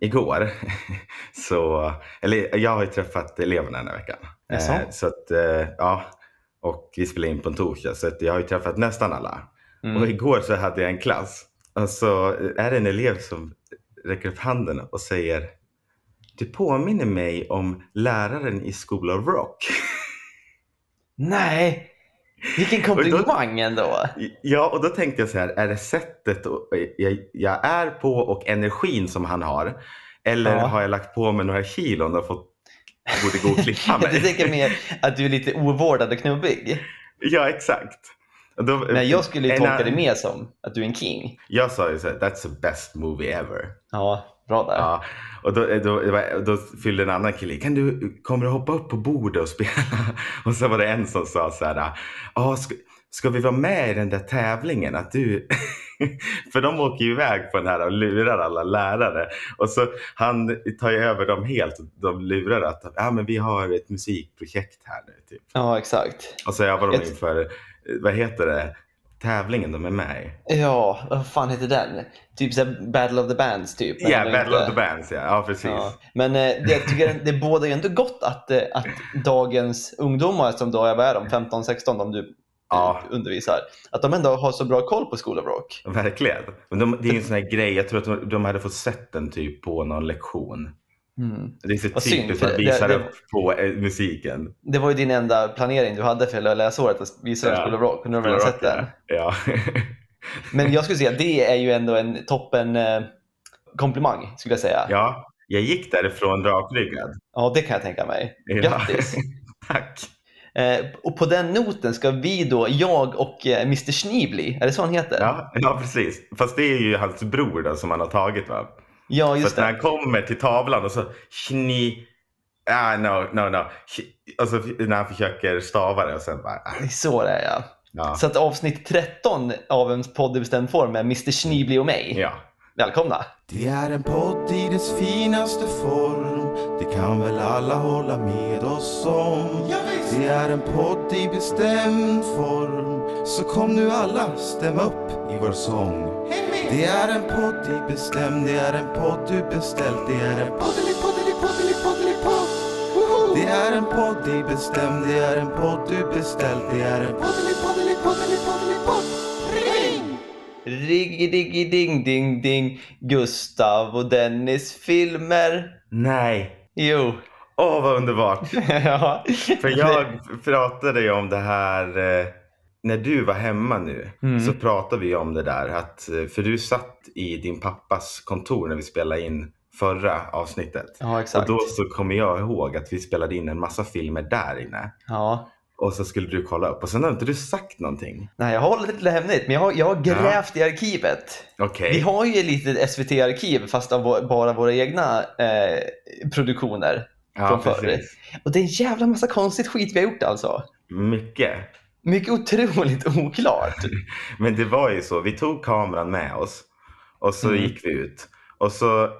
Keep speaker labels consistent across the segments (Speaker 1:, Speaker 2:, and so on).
Speaker 1: igår. så, eller jag har ju träffat eleverna den här veckan.
Speaker 2: Jaså?
Speaker 1: Eh, Så att, eh, ja. Och vi spelar in på en torsdag så att jag har ju träffat nästan alla.
Speaker 2: Mm.
Speaker 1: Och igår så hade jag en klass. Och så är det en elev som räcker upp handen och säger Du påminner mig om läraren i School of Rock.
Speaker 2: Nej! Vilken komplimang ändå.
Speaker 1: Ja, och då tänkte jag så här, är det sättet och- eh, jag, jag är på och energin som han har? Eller
Speaker 2: Ja.
Speaker 1: har jag lagt på mig några kilon och fått borde gå och klippa
Speaker 2: Du
Speaker 1: mig?
Speaker 2: tänker mer att du är lite ovårdad och knubbig.
Speaker 1: ja, exakt. Och då,
Speaker 2: Men jag skulle ju
Speaker 1: en
Speaker 2: tolka
Speaker 1: an-
Speaker 2: det mer som att du är en king.
Speaker 1: Jag sa ju så här, that's the best movie ever.
Speaker 2: Ja, bra där.
Speaker 1: Ja, och då, eh, då, det var- då fyllde en annan kille i, kan du, kommer du hoppa upp på bordet och spela? Och så var det en som sa så här, "Ja, ska, ska vi vara med i den där tävlingen? Att du... För de åker ju iväg på den här och lurar alla lärare. Och så han tar ju över dem helt. De lurar att ah, men vi har ett musikprojekt här nu. Typ.
Speaker 2: Ja, exakt.
Speaker 1: Och så övar de
Speaker 2: Ett-
Speaker 1: inför, eh, vad heter det, tävlingen de är med i.
Speaker 2: Ja, vad fan heter den? Typ så här Battle of the Bands typ.
Speaker 1: Ja,
Speaker 2: men ändå
Speaker 1: Battle of
Speaker 2: inte.
Speaker 1: the Bands ja. Ja, precis.
Speaker 2: Ja. Men eh, det, jag tycker det bådar ju ändå gott att, eh, att dagens ungdomar, som då jag är de 15-16, de du eh,
Speaker 1: Ja.
Speaker 2: undervisar, att de ändå har så bra koll på School of Rock.
Speaker 1: Verkligen. Men de, det är ju en sån här grej, jag tror att de, de hade fått sett den typ på någon lektion.
Speaker 2: Mm.
Speaker 1: Det är så
Speaker 2: Vad synd,
Speaker 1: typiskt
Speaker 2: för
Speaker 1: att
Speaker 2: det-
Speaker 1: visa
Speaker 2: det-
Speaker 1: upp på eh, musiken.
Speaker 2: Det var ju din enda planering du hade för hela läsåret, att visa
Speaker 1: Ja.
Speaker 2: ja. School of Rock. och Nu har vi redan sett den.
Speaker 1: Ja.
Speaker 2: Men jag skulle säga att det är ju ändå en toppen eh, komplimang, skulle jag säga. Ja,
Speaker 1: ja, jag gick därifrån rakryggad.
Speaker 2: det kan jag tänka mig.
Speaker 1: Ja.
Speaker 2: Grattis!
Speaker 1: Tack.
Speaker 2: Eh, och på den noten ska vi då, jag och eh, Mr Schneebly, är det så han heter?
Speaker 1: Ja, ja, precis. Fast det är ju hans bror då, som han har tagit va?
Speaker 2: Ja,
Speaker 1: Så
Speaker 2: just
Speaker 1: att när
Speaker 2: det.
Speaker 1: han kommer till tavlan och så Schni... Ah, no, no, no. Sch- Och så när han försöker stava det och sen bara... ah,
Speaker 2: Det är Så det är ja.
Speaker 1: Ja.
Speaker 2: Så att avsnitt 13 av en podd i bestämd form med Mr Schneebly och mig.
Speaker 1: ja.
Speaker 2: Välkomna!
Speaker 3: Det är en podd i dess finaste form Det kan väl alla hålla med oss om Det är en podd i bestämd form Så kom nu alla, stäm upp i vår sång Det är en podd i bestämd Det är en podd du beställt Det är en poddelipoddelipoddelipoddelipodd Det är en podd i bestämd Det är en podd du beställt Det är en poddelipoddelipoddelipoddelipodd Ring!
Speaker 2: Riggi diggi ding ding ding Gustav och Dennis filmer.
Speaker 1: Nej.
Speaker 2: Jo.
Speaker 1: Åh, vad underbart.
Speaker 2: ja.
Speaker 1: För jag pratade ju om det här eh, när du var hemma nu.
Speaker 2: Mm.
Speaker 1: Så pratade vi om det där. Att, eh, för du satt i din pappas kontor när vi spelade in förra avsnittet.
Speaker 2: Ja,
Speaker 1: Och
Speaker 2: exakt.
Speaker 1: då så kommer jag ihåg att vi spelade in en massa filmer där inne.
Speaker 2: Ja.
Speaker 1: Och så skulle du kolla upp och sen har inte du sagt någonting.
Speaker 2: Nej, jag har hållit lite hemligt, men jag har, jag har grävt i arkivet. Vi
Speaker 1: Okej.
Speaker 2: har ju lite SVT-arkiv, fast av vår- bara våra egna eh, produktioner.
Speaker 1: Ja,
Speaker 2: från förr.
Speaker 1: precis.
Speaker 2: Och det är en jävla massa konstigt skit vi har gjort alltså.
Speaker 1: Mycket.
Speaker 2: Mycket otroligt oklart.
Speaker 1: Men det var ju så, vi tog kameran med oss och så
Speaker 2: Mm.
Speaker 1: gick vi ut. Och så, eh,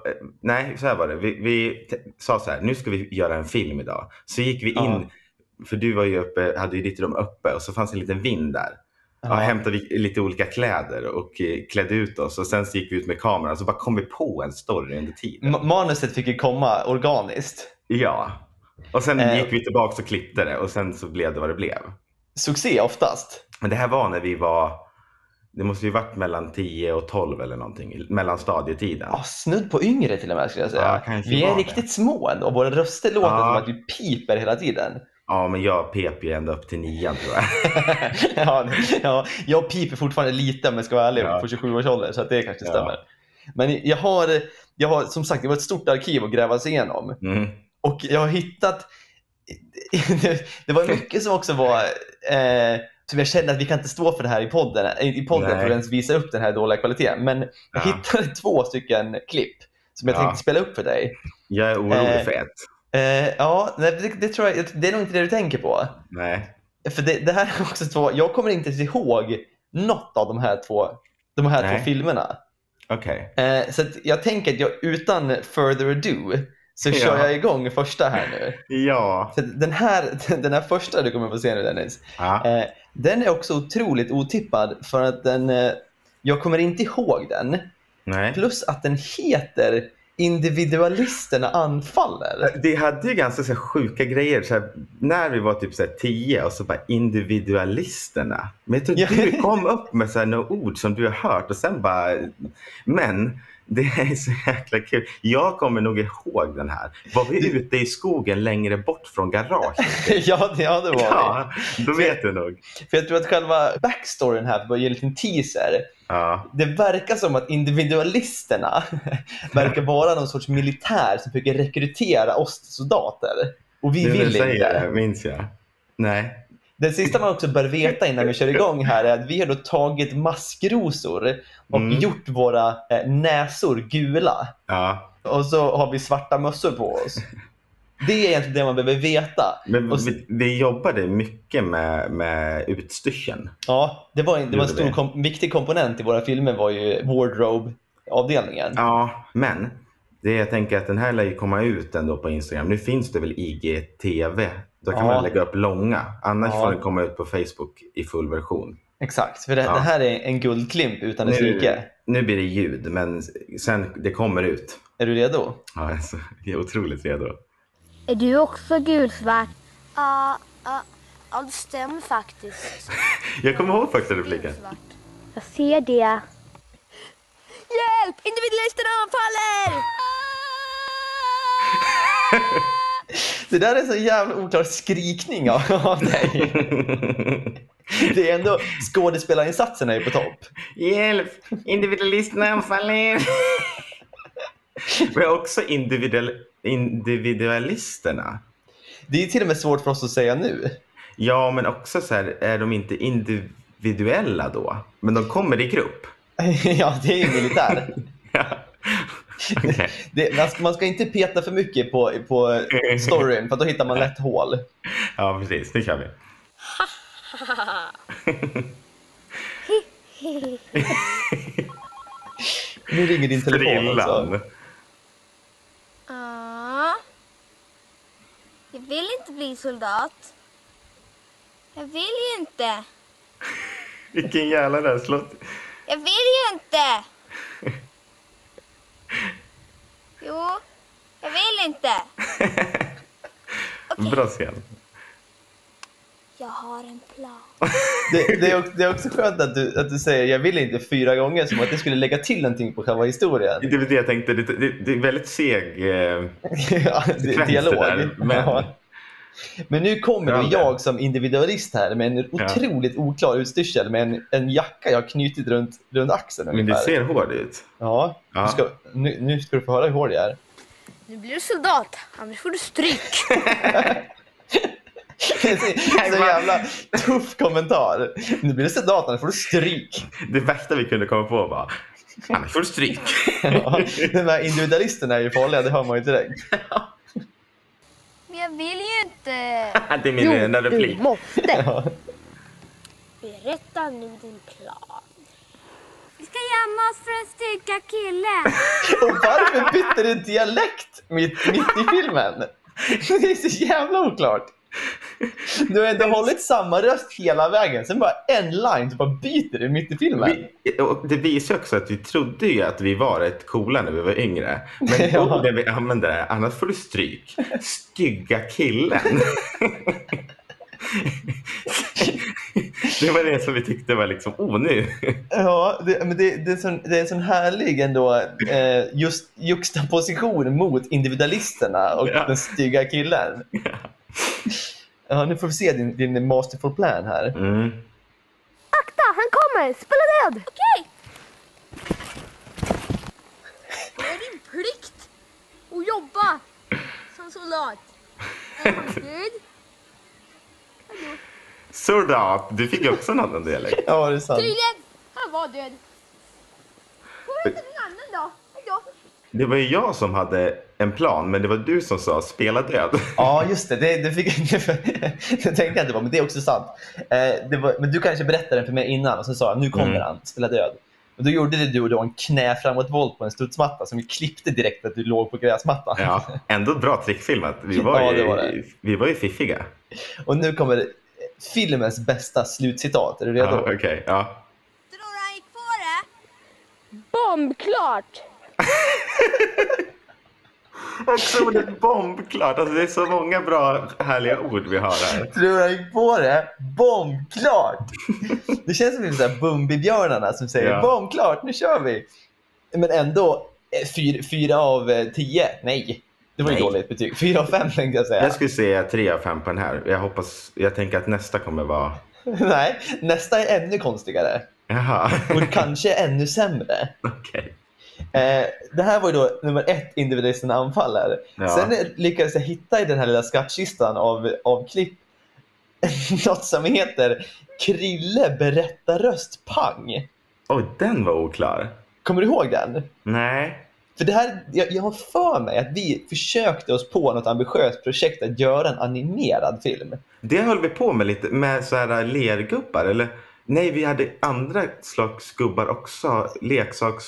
Speaker 1: nej så här var det, vi, vi t- sa så här, nu ska vi göra en film idag. Så gick vi in,
Speaker 2: Ja.
Speaker 1: för du var ju uppe, hade ju ditt rum uppe och så fanns en liten vind där. Ja. hämtade vi lite olika kläder och eh, klädde ut oss och sen så gick vi ut med kameran så bara kom vi på en story under tiden.
Speaker 2: Ma- Manuset fick ju komma organiskt.
Speaker 1: Ja. Och sen
Speaker 2: Eh.
Speaker 1: gick vi tillbaka och klippte det och sen så blev det vad det blev.
Speaker 2: Succé oftast.
Speaker 1: Men det här var när vi var, det måste ju varit mellan 10 och 12 eller någonting, mellanstadietiden.
Speaker 2: Ja, snudd på yngre till och med skulle jag säga.
Speaker 1: Ja, kanske
Speaker 2: vi
Speaker 1: var
Speaker 2: är
Speaker 1: det.
Speaker 2: riktigt små ändå. Våra röster låter
Speaker 1: Ja.
Speaker 2: som att vi piper hela tiden.
Speaker 1: Ja, men jag pep ju ända upp till nian tror jag.
Speaker 2: ja, ja, jag piper fortfarande lite om jag ska vara ärlig
Speaker 1: Ja.
Speaker 2: på 27 års ålder så att det kanske
Speaker 1: Ja.
Speaker 2: stämmer. Men jag har, jag har som sagt det var ett stort arkiv att gräva sig igenom.
Speaker 1: Mm.
Speaker 2: Och jag har hittat... Det, det var mycket som också var... Eh, som jag kände att vi kan inte stå för det här i podden, i podden
Speaker 1: Nej.
Speaker 2: för att ens visa upp den här dåliga kvaliteten. Men jag
Speaker 1: Ja.
Speaker 2: hittade två stycken klipp som jag
Speaker 1: Ja.
Speaker 2: tänkte spela upp för dig.
Speaker 1: Jag är orolig
Speaker 2: Eh.
Speaker 1: för ett.
Speaker 2: Eh, ja, nej, det, det, tror jag, det är nog inte det du tänker på.
Speaker 1: Nej.
Speaker 2: För det, det här är också två... Jag kommer inte ens ihåg något av de här två, de här
Speaker 1: Nej.
Speaker 2: två filmerna.
Speaker 1: Okej.
Speaker 2: Eh, så att jag tänker att jag utan further ado så kör
Speaker 1: Ja.
Speaker 2: jag igång första här nu.
Speaker 1: Ja.
Speaker 2: Så Den här, den här första du kommer få se nu Dennis,
Speaker 1: ja.
Speaker 2: eh, den är också otroligt otippad för att den, eh, jag kommer inte ihåg den.
Speaker 1: Nej.
Speaker 2: Plus att den heter individualisterna anfaller.
Speaker 1: Eh, Det hade ju ganska så här, sjuka grejer. Så här, när vi var typ så här, tio och så bara individualisterna. Men jag tror
Speaker 2: Ja.
Speaker 1: du kom upp med så här, några ord som du har hört och sen bara... Men det är så jäkla kul. Jag kommer nog ihåg den här. Var vi ute i skogen längre bort från garaget?
Speaker 2: ja, det, ja, det var det.
Speaker 1: Ja, då vet du nog.
Speaker 2: För jag tror att själva backstoryn här, för att bara ge en liten teaser.
Speaker 1: Ja,
Speaker 2: Det verkar som att individualisterna verkar vara någon sorts militär som försöker rekrytera oss till soldater. Och vi
Speaker 1: nu när du
Speaker 2: vill
Speaker 1: säger
Speaker 2: inte.
Speaker 1: det minns jag. Nej.
Speaker 2: Det sista man också bör veta innan vi kör igång här är att vi har då tagit maskrosor och
Speaker 1: Mm.
Speaker 2: gjort våra eh, näsor gula.
Speaker 1: Ja.
Speaker 2: Och så har vi svarta mössor på oss. Det är egentligen det man behöver veta.
Speaker 1: Men
Speaker 2: Och s-
Speaker 1: vi, vi jobbade mycket med, med utstyrseln.
Speaker 2: Ja, det var en, det var en
Speaker 1: Gjorde
Speaker 2: stor,
Speaker 1: det.
Speaker 2: kom, viktig komponent i våra filmer var ju wardrobe-avdelningen.
Speaker 1: Ja, men det jag tänker att den här lär ju komma ut ändå på Instagram. Nu finns det väl IGTV? Då kan
Speaker 2: Ja.
Speaker 1: man lägga upp långa. Annars
Speaker 2: Ja.
Speaker 1: får den komma ut på Facebook i full version.
Speaker 2: Exakt, för det,
Speaker 1: Ja.
Speaker 2: det här är en guldklimp utan dess
Speaker 1: Nu,
Speaker 2: like.
Speaker 1: nu blir det ljud, men sen det kommer ut.
Speaker 2: Är du redo?
Speaker 1: Ja, alltså, jag är otroligt redo.
Speaker 4: Är du också gulsvart?
Speaker 5: Ja, ja, ja, det stämmer faktiskt.
Speaker 1: Jag kommer ihåg första repliken.
Speaker 4: Jag ser det.
Speaker 5: Hjälp! Individualisterna anfaller!
Speaker 2: Det där är en så jävla oklar skrikning av, av dig. Det är ändå skådespelarinsatsen är ju på topp.
Speaker 1: Hjälp! Individualisterna anfaller! Men också individual, individualisterna.
Speaker 2: Det är till och med svårt för oss att säga nu.
Speaker 1: Ja, men också så här, är de inte individuella då? Men de kommer i grupp.
Speaker 2: Ja, det är ju militär.
Speaker 1: Ja. Okej.
Speaker 2: Det, man, ska, man ska inte peta för mycket på, på storyn för då hittar man lätt hål.
Speaker 1: Ja, precis. Nu kör vi.
Speaker 2: Nu ringer din telefon alltså. också.
Speaker 1: Frillan.
Speaker 5: Ja. Jag vill inte bli soldat. Jag vill ju inte.
Speaker 1: Vilken jävla röstlåt.
Speaker 5: Jag vill ju inte. Jo, jag vill inte.
Speaker 1: Bra scen.
Speaker 5: Jag har en plan.
Speaker 2: Det, det, är, också- det är också skönt att du, att du säger jag vill inte fyra gånger som att det skulle lägga till någonting på själva historien.
Speaker 1: Det var det jag tänkte. Det, det, det är väldigt seg... eh,
Speaker 2: Ja, det,
Speaker 1: Sekvens
Speaker 2: dialog.
Speaker 1: det där, men-
Speaker 2: Ja. Men nu kommer
Speaker 1: Ja,
Speaker 2: då
Speaker 1: det.
Speaker 2: jag som individualist här med en otroligt oklar utstyrsel med en, en jacka jag har knutit runt, runt axeln
Speaker 1: Men det
Speaker 2: ungefär.
Speaker 1: ser hård ut.
Speaker 2: Ja,
Speaker 1: Ja.
Speaker 2: Du ska, nu, nu ska du få höra hur hård jag är.
Speaker 5: Nu blir du soldat, annars får du stryk.
Speaker 2: Det är så jävla tuff kommentar. Nu blir det soldat, annars får du stryk.
Speaker 1: Det värsta vi kunde komma på var annars får du stryk.
Speaker 2: Ja, de här individualisterna är ju farliga, det hör man ju direkt.
Speaker 5: Men jag vill ju inte.
Speaker 1: Det är min enda replik.
Speaker 4: måste.
Speaker 2: Ja.
Speaker 4: Berätta nu din plan.
Speaker 5: Vi ska gömma oss för den stygga killen.
Speaker 2: Och varför bytte du dialekt mitt, mitt i filmen? Det är så jävla oklart. Du har ändå hållit samma röst hela vägen, sen bara en line så bara byter du mitt i filmen.
Speaker 1: Vi, och det visar också att vi trodde ju att vi var rätt coola när vi var yngre. Men
Speaker 2: Ja.
Speaker 1: orden vi använder är annars får du stryk. Stygga killen. det var det som vi tyckte var liksom, oh nu.
Speaker 2: Ja, det, men det, det, är sån, det är en sån härlig ändå eh, just juxtaposition mot individualisterna och
Speaker 1: Ja.
Speaker 2: den stygga killen. Ja, nu får vi se din, din masterful plan här.
Speaker 1: Mm.
Speaker 4: Akta, han kommer! Spela död!
Speaker 5: Okej. Det är din plikt att jobba som soldat. Är han död?
Speaker 1: Soldat, du fick också en annan dialekt.
Speaker 2: Ja, det är sant.
Speaker 5: Tydligen. Han var död. Får vi inte någon annan då? Hejdå.
Speaker 1: Det var ju jag som hade en plan, men det var du som sa spela död.
Speaker 2: Ja, just det. Det, det, fick, det tänkte jag inte på, men det är också sant. Eh, det var, men du kanske berättade den för mig innan och sen sa jag nu kommer
Speaker 1: Mm.
Speaker 2: han, spela död. Och då gjorde det du och då en knä framåt-volt på en studsmatta som vi klippte direkt att du låg på gräsmattan.
Speaker 1: Ja, ändå ett bra trickfilmat. Vi var,
Speaker 2: Ja,
Speaker 1: ju,
Speaker 2: det var det.
Speaker 1: Vi var ju fiffiga.
Speaker 2: Och nu kommer filmens bästa slutcitat. Är du redo?
Speaker 1: Ja, okej, ja.
Speaker 5: Tror han gick på det?
Speaker 4: Bombklart!
Speaker 1: Också ordet bombklart. Alltså det är så många bra härliga ord vi har här.
Speaker 2: Tror han gick på det? Bombklart! Det känns som typ så här Bumbibjörnarna som säger
Speaker 1: Ja.
Speaker 2: bombklart, nu kör vi. Men ändå, eh, fyr, fyra av eh, tio. Nej, det var ju
Speaker 1: Nej.
Speaker 2: dåligt betyg. Fyra av fem tänkte jag säga.
Speaker 1: Jag skulle säga tre av fem på den här. Jag hoppas, jag tänker att nästa kommer vara...
Speaker 2: Nej, nästa är ännu konstigare
Speaker 1: Jaha,
Speaker 2: och kanske ännu sämre.
Speaker 1: okej.
Speaker 2: Eh, det här var ju då nummer ett, individisten anfaller.
Speaker 1: Ja.
Speaker 2: Sen eh, lyckades jag hitta i den här lilla skattkistan av, av klipp något som heter Krille berättar röstpang.
Speaker 1: Oj, den var oklar.
Speaker 2: Kommer du ihåg den?
Speaker 1: Nej.
Speaker 2: För det här, jag, jag har för mig att vi försökte oss på något ambitiöst projekt att göra en animerad film.
Speaker 1: Det höll vi på med lite, med så här lergubbar eller? Nej, vi hade andra slags gubbar också. Leksaks...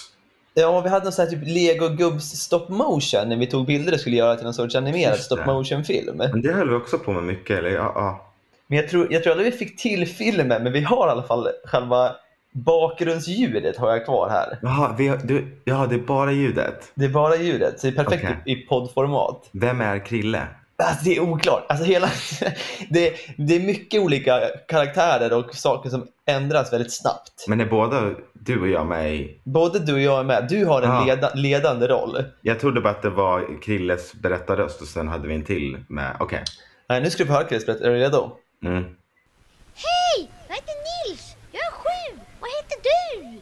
Speaker 2: Ja, vi hade någon sån här typ Lego Gubbs stop motion när vi tog bilder och skulle göra till någon sorts animerad
Speaker 1: Just det.
Speaker 2: stop motion film.
Speaker 1: Men det höll vi också på med mycket, eller? Ja, ja.
Speaker 2: Men jag tror, jag tror aldrig vi fick till filmen, men vi har i alla fall själva bakgrundsljudet har jag kvar här.
Speaker 1: Jaha, vi, har- du, jaha, det är bara ljudet.
Speaker 2: Det är bara ljudet, så det är perfekt
Speaker 1: Okej.
Speaker 2: i, i poddformat.
Speaker 1: Vem är Krille?
Speaker 2: Alltså, det är oklart. Alltså, hela, det, det är mycket olika karaktärer och saker som ändras väldigt snabbt.
Speaker 1: Men är båda du och jag med i?
Speaker 2: Både du och jag är med. Du har en
Speaker 1: Ja.
Speaker 2: leda, ledande roll.
Speaker 1: Jag trodde bara att det var Krilles berättarröst och sen hade vi en till med. Okej.
Speaker 2: Nej, nu ska du få höra Chris, är du redo?
Speaker 1: Mm.
Speaker 6: Hej! Jag heter Nils. Jag är sju. Vad heter du?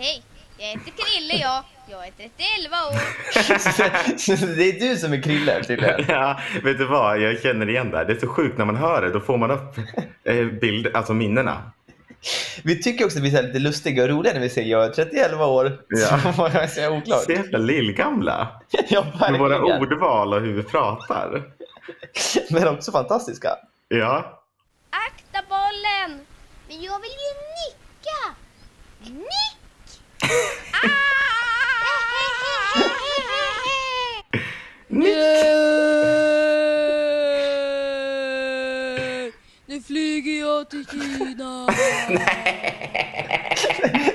Speaker 6: Hej, jag heter Krille jag. Jag är 31 år.
Speaker 2: det är du som är Krille tydligen.
Speaker 1: Ja, vet du vad? Jag känner igen det här. Det är så sjukt när man hör det. Då får man upp eh, bild, alltså minnena.
Speaker 2: Vi tycker också att vi är så här lite lustiga och roliga när vi säger jag är 31 år.
Speaker 1: Ja.
Speaker 2: Så vad jag säger oklart.
Speaker 1: Så jävla lillgamla.
Speaker 2: Ja,
Speaker 1: Med våra
Speaker 2: verkligen.
Speaker 1: ordval och hur vi pratar.
Speaker 2: Men också fantastiska.
Speaker 1: Ja.
Speaker 6: Akta bollen! Men jag vill ju nicka! Nick! Ah!
Speaker 5: Nej! Nu flyger jag till Kina.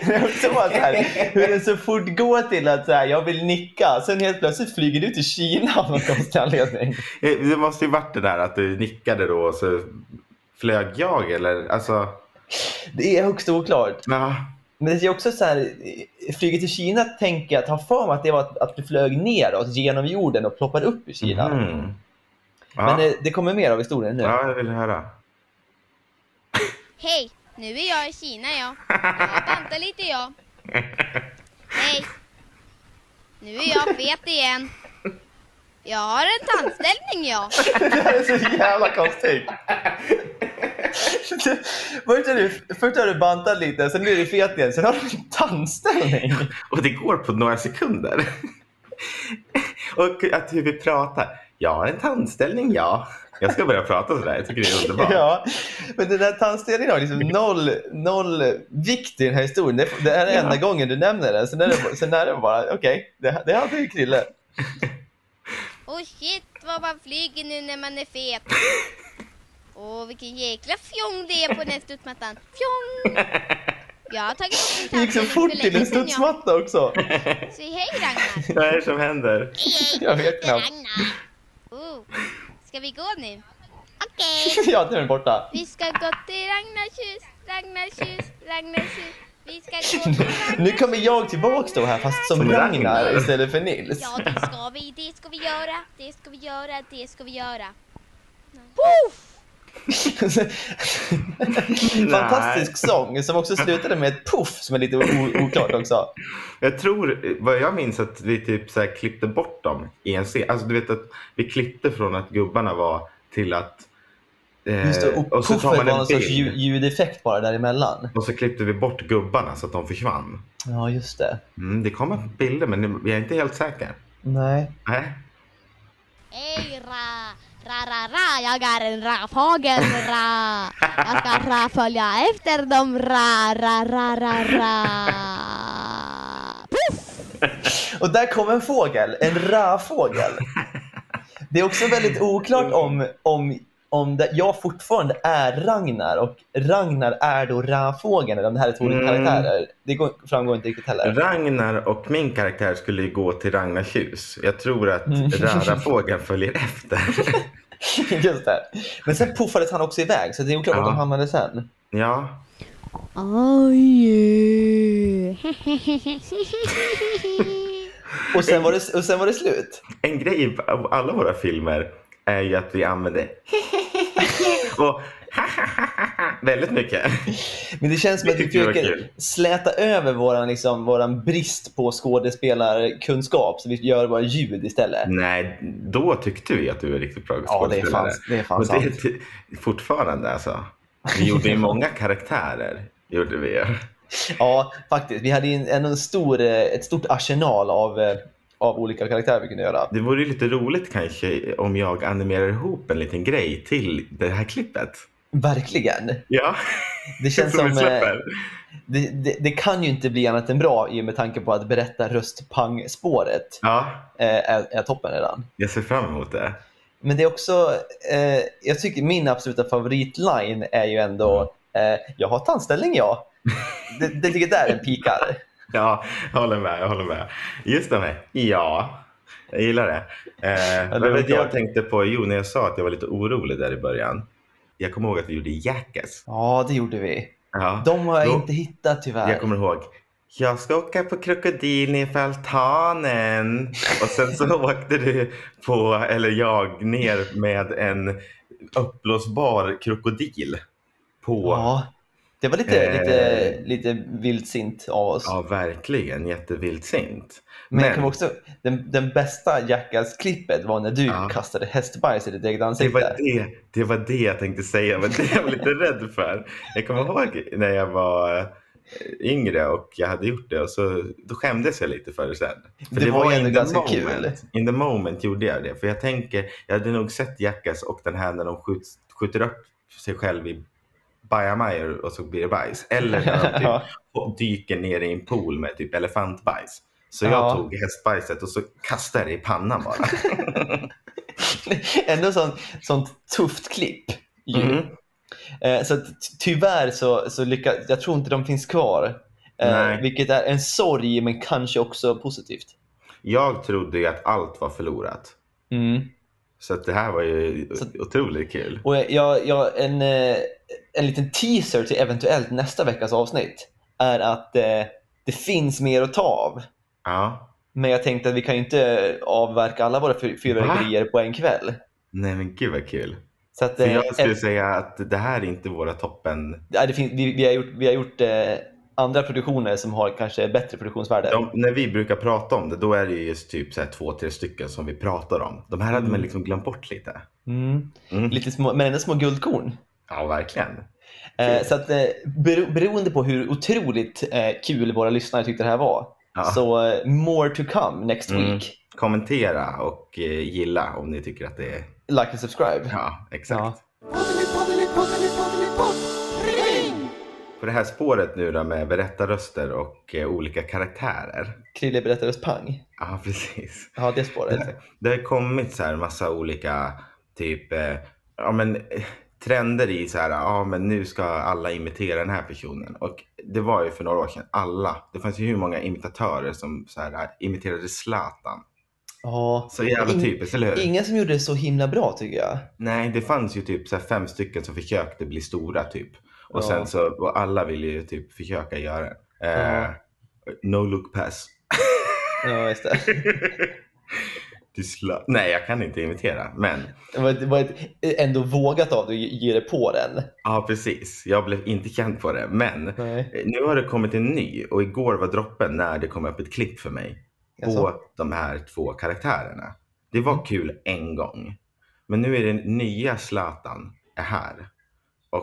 Speaker 2: Det är också bara så här, hur den så fort går till att så här, jag vill nicka. Sen helt plötsligt flyger du till Kina av någon konstig anledning.
Speaker 1: Eh, Det måste ju varit det där att du nickade då och så flög jag eller alltså.
Speaker 2: Det är högst oklart.
Speaker 1: Ja.
Speaker 2: Men det är också så här, flyget till Kina tänker jag att ha för mig att det var att, att du flög neråt genom jorden och ploppade upp i Kina.
Speaker 1: Mm. Ja.
Speaker 2: Men eh, det, det kommer mer av historien nu.
Speaker 1: ja, jag vill höra.
Speaker 6: Hej, nu är jag i Kina jag. Jag bantar lite jag. Hej. Nu är jag fet igen. Jag har en tandställning jag.
Speaker 2: Det här är så jävla konstigt. Först har, du, först har du bantat lite, sen blir du fet igen, sen har du en tandställning.
Speaker 1: Och det går på några sekunder. och att hur vi pratar. Jag har en tandställning, ja. Jag ska börja prata sådär. Jag tycker det är underbart.
Speaker 2: Ja, men den där tandställningen har liksom noll, noll vikt i den här historien. Det, det här är enda gången du nämner den. Sen är det, sen är det bara, okej, det, det hade ju Krille.
Speaker 6: Och Oh, shit vad man flyger nu när man är fet. Åh vilken jäkla fjong det är på den här studsmattan. Fjong! Jag har tagit upp min
Speaker 2: Det gick så
Speaker 6: tandställning
Speaker 2: fort till en
Speaker 6: sedan, ja.
Speaker 2: studsmatta också.
Speaker 6: Säg hej Ragnar.
Speaker 1: Vad är det som händer?
Speaker 2: Jag vet knappt.
Speaker 6: Ragnar. Oh. Ska vi gå nu? Okej.
Speaker 2: Ja, nu är den borta.
Speaker 6: Vi ska gå till Ragnars hus, Ragnars hus, Ragnars hus. Vi ska gå till Ragnars
Speaker 2: Nu kommer jag tillbaks då här, fast som
Speaker 1: Som
Speaker 2: Ragnar
Speaker 1: Ragnar.
Speaker 2: istället för Nils.
Speaker 6: Ja, det ska vi, det ska vi göra, det ska vi göra, det ska vi göra.
Speaker 2: Fantastisk sång som också slutade med ett puff som är lite o- oklart också.
Speaker 1: Jag tror, vad jag minns, att vi typ så här klippte bort dem i en scen. Alltså du vet att vi klippte från att gubbarna var till att... eh,
Speaker 2: Just det, och puffet var någon sorts ljud, ljudeffekt bara däremellan.
Speaker 1: Och så klippte vi bort gubbarna så att de försvann.
Speaker 2: Ja, just det.
Speaker 1: Mm, det kommer bilder men jag är inte helt säker.
Speaker 2: Nej.
Speaker 1: Nej.
Speaker 6: Hej ra, ra, ra, ra, jag är en ravfågel, ra. Jag ska ra följa efter dem, ra, ra, ra, ra, ra.
Speaker 2: Och där kom en fågel, en rävfågel. Det är också väldigt oklart om, om, om det, jag fortfarande är Ragnar och Ragnar är då rävfågeln eller om det här är två olika
Speaker 1: Mm.
Speaker 2: karaktärer. Det går, framgår inte riktigt heller.
Speaker 1: Ragnar och min karaktär skulle ju gå till Ragnars hus. Jag tror att
Speaker 2: Mm.
Speaker 1: Rarafågeln följer efter.
Speaker 2: Just det. Men sen puffades han också iväg så det är oklart var
Speaker 1: Ja.
Speaker 2: de hamnade sen.
Speaker 1: ja,
Speaker 2: Och sen var det, och sen var det slut.
Speaker 1: en grej i alla våra filmer är ju att vi använder och väldigt mycket.
Speaker 2: Men det känns som att vi
Speaker 1: tyckte jag var
Speaker 2: försöker
Speaker 1: kul.
Speaker 2: släta över våran, liksom, våran brist på skådespelarkunskap så vi gör bara ljud istället.
Speaker 1: Nej, då tyckte vi att du var riktigt bra
Speaker 2: Ja, det är fan, det är fan
Speaker 1: Och det är
Speaker 2: sant.
Speaker 1: ty- fortfarande alltså. Vi gjorde ju många karaktärer. Gjorde vi ju.
Speaker 2: Ja, faktiskt. Vi hade ju en, en stor, eh, ett stort arsenal av, eh, av olika karaktärer vi kunde göra.
Speaker 1: Det vore ju lite roligt kanske om jag animerar ihop en liten grej till det här klippet.
Speaker 2: Verkligen.
Speaker 1: Ja,
Speaker 2: Det känns som...
Speaker 1: vi
Speaker 2: eh,
Speaker 1: släpper.
Speaker 2: Det, det, det kan ju inte bli annat än bra i och med tanke på att berätta röstpang-spåret
Speaker 1: Ja,
Speaker 2: eh, är, är toppen redan.
Speaker 1: jag ser fram emot det.
Speaker 2: Men det är också, eh, jag tycker min absoluta favoritline är ju ändå eh, Jag har tandställning jag. Det, det ligger där den pikar.
Speaker 1: Ja, jag håller med. Jag håller med. Just det med. Ja, jag gillar det. Eh,
Speaker 2: det
Speaker 1: men
Speaker 2: var
Speaker 1: det jag
Speaker 2: klart.
Speaker 1: tänkte på, jo, när jag sa att jag var lite orolig där i början. Jag kommer ihåg att vi gjorde Jackass.
Speaker 2: Ja, det gjorde vi.
Speaker 1: Ja.
Speaker 2: De har jag
Speaker 1: Jo.
Speaker 2: inte hittat tyvärr.
Speaker 1: Jag kommer ihåg. Jag ska åka på krokodil nerför altanen. Och sen så åkte du på, eller jag, ner med en uppblåsbar krokodil. På. Ja,
Speaker 2: Ja, det var lite,
Speaker 1: Eh.
Speaker 2: lite, lite vildsint av oss.
Speaker 1: verkligen. Jättevildsint.
Speaker 2: Men, jag kommer också, den, den bästa Jackass-klippet var när du
Speaker 1: Ja.
Speaker 2: kastade hästbajs i ditt eget
Speaker 1: Det
Speaker 2: ansikte.
Speaker 1: var det, det var det jag tänkte säga, men det jag var lite rädd för. Jag kommer ihåg när jag var eh, yngre och jag hade gjort det och så, då skämdes jag lite för det sen. För
Speaker 2: Det var ju ändå
Speaker 1: in the
Speaker 2: ganska
Speaker 1: moment. In the moment gjorde jag det. För jag tänker, jag hade nog sett Jackass och den här när de skjuts, skjuter upp sig själv i bajamajor och så blir det bajs. Eller när de typ
Speaker 2: Ja.
Speaker 1: dyker ner i en pool med typ elefantbajs. Så jag
Speaker 2: Ja.
Speaker 1: tog hästbajset och så kastade jag det i pannan bara.
Speaker 2: Ändå sånt, sånt tufft klipp. ju.
Speaker 1: Mm.
Speaker 2: Eh, så att, ty- tyvärr så, så lyckas, jag tror inte de finns kvar. Eh,
Speaker 1: Nej.
Speaker 2: vilket är en sorg men kanske också positivt.
Speaker 1: Jag trodde ju att allt var förlorat.
Speaker 2: Mm.
Speaker 1: Så att det här var ju
Speaker 2: Så-
Speaker 1: otroligt kul.
Speaker 2: Och jag, jag, en, eh, en liten teaser till eventuellt nästa veckas avsnitt är att eh, det finns mer att ta av.
Speaker 1: Ja.
Speaker 2: Men jag tänkte att vi kan ju inte avverka alla våra fyr- fyrverkerier på en kväll.
Speaker 1: Nej men gud vad kul.
Speaker 2: Så att,
Speaker 1: För
Speaker 2: eh,
Speaker 1: jag skulle
Speaker 2: ett-
Speaker 1: säga att det här är inte våra toppen.
Speaker 2: ja, det finns, vi, vi har gjort, vi har gjort eh, andra produktioner som har kanske bättre produktionsvärde.
Speaker 1: De, när vi brukar prata om det, då är det ju just typ så här två, tre stycken som vi pratar om. De här hade man liksom glömt bort lite.
Speaker 2: Mm.
Speaker 1: Mm.
Speaker 2: Lite små, men ändå små guldkorn.
Speaker 1: Ja, verkligen.
Speaker 2: Eh, så att, eh, bero, beroende på hur otroligt eh, kul våra lyssnare tyckte det här var,
Speaker 1: Ja.
Speaker 2: så eh, more to come next
Speaker 1: Mm.
Speaker 2: week.
Speaker 1: Kommentera och eh, gilla om ni tycker att det är...
Speaker 2: Like and subscribe.
Speaker 1: Ja, exakt.
Speaker 2: Ja.
Speaker 1: På det här spåret nu då med berättarröster och eh, olika karaktärer.
Speaker 2: Krille berättades pang.
Speaker 1: Ja, precis.
Speaker 2: Ja, det spåret.
Speaker 1: Det, det har kommit så här massa olika typ, eh, ja men eh, trender i så här, ja men nu ska alla imitera den här personen. Och det var ju för några år sedan, alla. Det fanns ju hur många imitatörer som så här, imiterade Zlatan.
Speaker 2: Ja.
Speaker 1: Så jävla typ.
Speaker 2: In-
Speaker 1: typiskt, eller hur?
Speaker 2: Ingen som gjorde det så himla bra tycker jag.
Speaker 1: Nej, det fanns ju typ så här fem stycken som försökte bli stora typ. Och
Speaker 2: Ja.
Speaker 1: sen så, och alla ville ju typ försöka göra det. Eh,
Speaker 2: Ja.
Speaker 1: No look pass.
Speaker 2: Ja, just det.
Speaker 1: Du sla- Nej, jag kan inte imitera, men
Speaker 2: Det var, det var ett, ändå vågat av dig att ge dig på den.
Speaker 1: ja precis. Jag blev inte känd på det, men
Speaker 2: Nej.
Speaker 1: Eh, Nu har det kommit en ny och igår var droppen när det kom upp ett klipp för mig på
Speaker 2: Jaså?
Speaker 1: de här två karaktärerna. Det var kul en gång, men nu är den nya Zlatan är här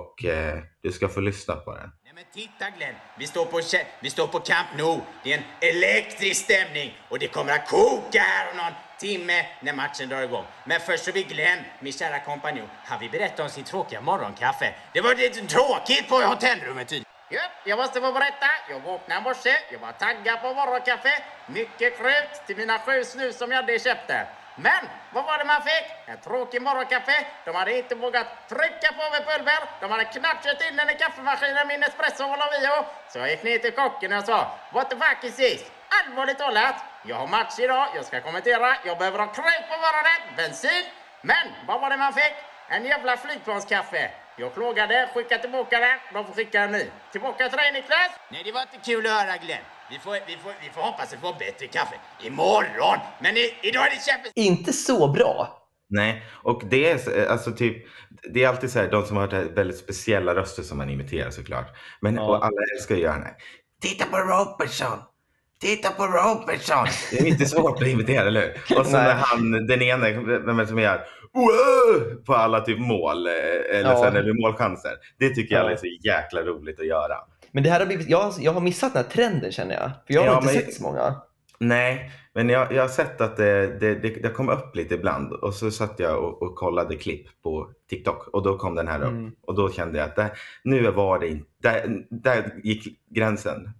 Speaker 1: och eh, du ska få lyssna på den.
Speaker 7: Nej men titta Glenn, vi står på, kä- vi står på Camp Nou. Det är en elektrisk stämning och det kommer att koka här om någon timme när matchen drar igång. Men först så vill Glenn, min kära kompanjon, han vill berätta om sitt tråkiga morgonkaffe. Det var lite tråkigt på hotellrummet typ. tydligen. Ja, jag måste få berätta. Jag vaknade i morse, jag var taggad på morgonkaffe. Mycket krut till mina sju snus som jag hade köpt där. Men vad var det man fick? En tråkig morgonkaffe. De hade inte vågat trycka på med pulver. De hade knappt kört in den i kaffemaskinen min espresso Olavio. Så jag gick ner till kocken och sa What the fuck is this? Allvarligt talat, jag har match idag, jag ska kommentera, jag behöver ha kräk på morgonen, bensin. Men vad var det man fick? En jävla flygplanskaffe. Jag klagade, skickade tillbaka den, de får skicka en ny. Tillbaka till dig Niklas! Nej, det var inte kul att höra Glenn. Vi får, vi får, vi får hoppas att vi får bättre kaffe imorgon. Men i, idag är det kämpe...
Speaker 2: Inte så bra.
Speaker 1: Nej, och det är så- alltså typ, det är alltid så här, de som har det här väldigt speciella röster som man imiterar såklart. Men
Speaker 2: Ja.
Speaker 1: och alla älskar att göra det. här. Titta på Robertson! Titta på Robertson! Det är inte svårt att imitera, eller hur? Och så
Speaker 2: Nej.
Speaker 1: när han, den ena, vem är det som gör "Wow!" på alla typ mål, eh, eller,
Speaker 2: Ja.
Speaker 1: sen, eller målchanser. Det tycker jag
Speaker 2: Ja.
Speaker 1: är så jäkla roligt att göra.
Speaker 2: Men det här har blivit, jag, jag har missat den här trenden känner jag. För jag har
Speaker 1: Ja,
Speaker 2: inte
Speaker 1: men-
Speaker 2: sett så många.
Speaker 1: Nej, men jag, jag har sett att det, det, det, det kom upp lite ibland och så satt jag och, och kollade klipp på TikTok och då kom den här upp
Speaker 2: Mm.
Speaker 1: och då kände jag att det, nu var det inte, där, där gick gränsen.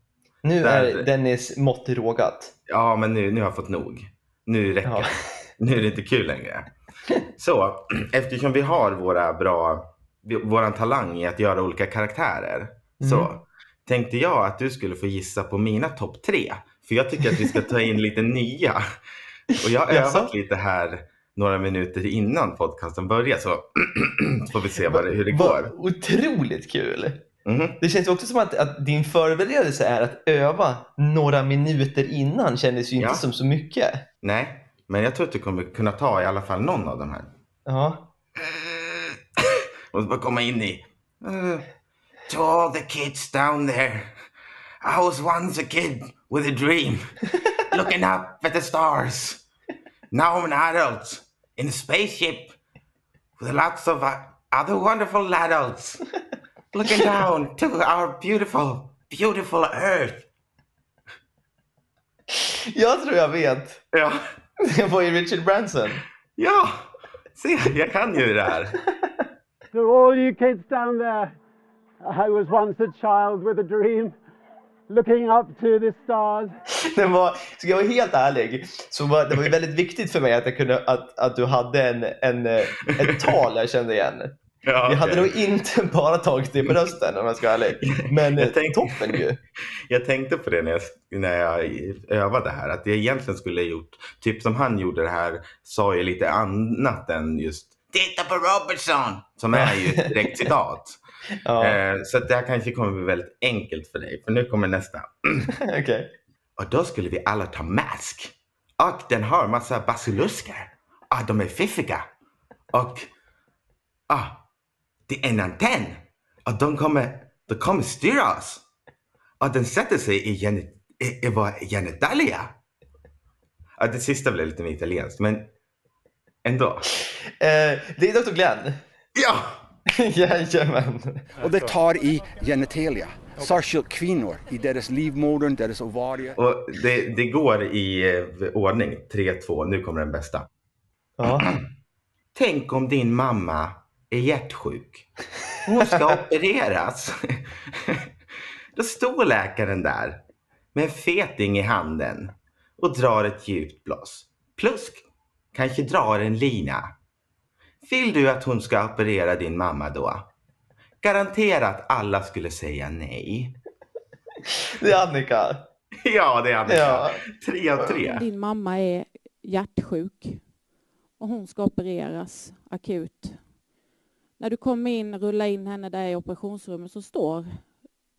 Speaker 2: Nu
Speaker 1: Där-
Speaker 2: är Dennis mått rågat.
Speaker 1: Ja, men nu, nu har jag fått nog. Nu räcker
Speaker 2: Ja.
Speaker 1: det. Nu är det inte kul längre. Så eftersom vi har våra bra, vi- våran talang i att göra olika karaktärer
Speaker 2: Mm.
Speaker 1: så tänkte jag att du skulle få gissa på mina topp tre. För jag tycker att vi ska ta in lite nya. Och jag har
Speaker 2: Jaså?
Speaker 1: övat lite här några minuter innan podcasten börjar så får vi se vad det, hur det
Speaker 2: Vad
Speaker 1: går.
Speaker 2: otroligt kul!
Speaker 1: Mhm.
Speaker 2: Det känns ju också som att, att din förberedelse är att öva några minuter innan kändes ju inte
Speaker 1: Ja.
Speaker 2: som så mycket.
Speaker 1: Nej, men jag tror att du kommer kunna ta i alla fall någon av de här.
Speaker 2: Ja.
Speaker 1: Och bara komma in i. eh, To all the kids down there. I was once a kid with a dream. Looking up at the stars. Now I'm an adult in a spaceship with lots of uh, other wonderful adults. Looking down to our beautiful, beautiful earth.
Speaker 2: Jag tror jag vet.
Speaker 1: Ja,
Speaker 2: Det var ju Richard Branson.
Speaker 1: ja. Se, jag kan ju det här.
Speaker 8: To all you kids down there, I was once a child with a dream, looking up to the stars.
Speaker 2: Den var, ska jag vara helt ärlig, så var, det var ju väldigt viktigt för mig att, jag kunde, att, att du hade en, en, eh, ett tal jag kände igen.
Speaker 1: Ja,
Speaker 2: Jag hade
Speaker 1: okej.
Speaker 2: nog inte bara tagit det på rösten om jag ska vara ärlig. Men
Speaker 1: Jag
Speaker 2: eh,
Speaker 1: tänk-
Speaker 2: toppen ju.
Speaker 1: Jag tänkte på det när jag, när jag övade här, att jag egentligen skulle ha gjort, typ som han gjorde det här, sa ju lite annat än just Titta på Robertson! Som är ju ett direkt citat.
Speaker 2: Ja,
Speaker 1: Eh, Så att det här kanske kommer bli väldigt enkelt för dig, för nu kommer nästa.
Speaker 2: okej.
Speaker 1: Och då skulle vi alla ta mask. Och den har massa basilusker. Och de är fiffiga. Och ah, det är en antenn. Och de kommer, de kommer styra oss. Och den sätter sig i, geni, i, i våra genitalia. Ja, det sista blev lite mer italienskt, men ändå.
Speaker 2: Eh, det är Dr. Glenn.
Speaker 1: Ja!
Speaker 2: Jajamän.
Speaker 9: Och det tar i genitalia, särskilt kvinnor, i deras livmodern, deras ovarier.
Speaker 1: Och det, det går i eh, ordning. 3-2, nu kommer den bästa.
Speaker 2: Ja.
Speaker 1: Tänk om din mamma är hjärtsjuk. Hon ska opereras. Då står läkaren där med en feting i handen och drar ett djupt blås. Plusk, kanske drar en lina. Vill du att hon ska operera din mamma då? Garanterat alla skulle säga nej.
Speaker 2: Det är Annika.
Speaker 1: Ja, det är Annika.
Speaker 2: Ja.
Speaker 1: Tre av tre.
Speaker 10: Din mamma är hjärtsjuk och hon ska opereras akut. När du kommer in, rullar in henne där i operationsrummet så står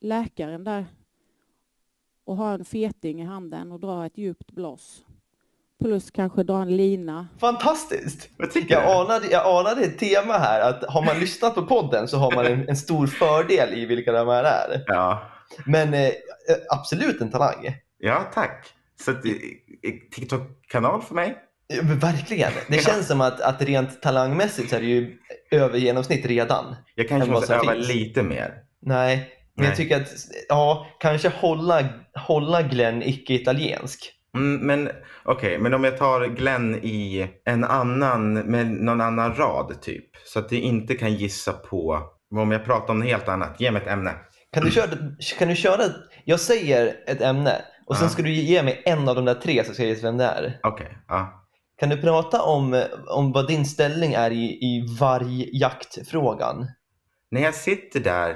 Speaker 10: läkaren där och har en feting i handen och drar ett djupt blås. Plus kanske dra en lina.
Speaker 2: Fantastiskt!
Speaker 1: Vad tycker
Speaker 2: Jag
Speaker 1: du?
Speaker 2: anade, jag anade ett tema här, att har man lyssnat på podden så har man en, en stor fördel i vilka de här är.
Speaker 1: Ja.
Speaker 2: Men eh, absolut en talang.
Speaker 1: ja, tack. Så att, eh, eh, TikTok-kanal för mig.
Speaker 2: Ja, men Verkligen. Det känns som att, att rent talangmässigt så är det ju över genomsnitt redan.
Speaker 1: Jag kanske
Speaker 2: än vad
Speaker 1: måste
Speaker 2: som
Speaker 1: öva
Speaker 2: finns.
Speaker 1: lite mer.
Speaker 2: Nej, men jag
Speaker 1: Nej.
Speaker 2: tycker att, ja, kanske hålla, hålla Glenn icke-italiensk.
Speaker 1: Mm, men okej, men om jag tar Glenn i en annan, med någon annan rad typ. Så att det inte kan gissa på, om jag pratar om något helt annat, ge mig ett ämne.
Speaker 2: Kan
Speaker 1: Mm.
Speaker 2: du köra, kan du köra jag säger ett ämne och sen
Speaker 1: Ja.
Speaker 2: ska du ge mig en av de där tre så ska jag gissa vem det är.
Speaker 1: Okej, ja.
Speaker 2: Kan du prata om, om vad din ställning är i, i vargjaktfrågan?
Speaker 1: När jag sitter där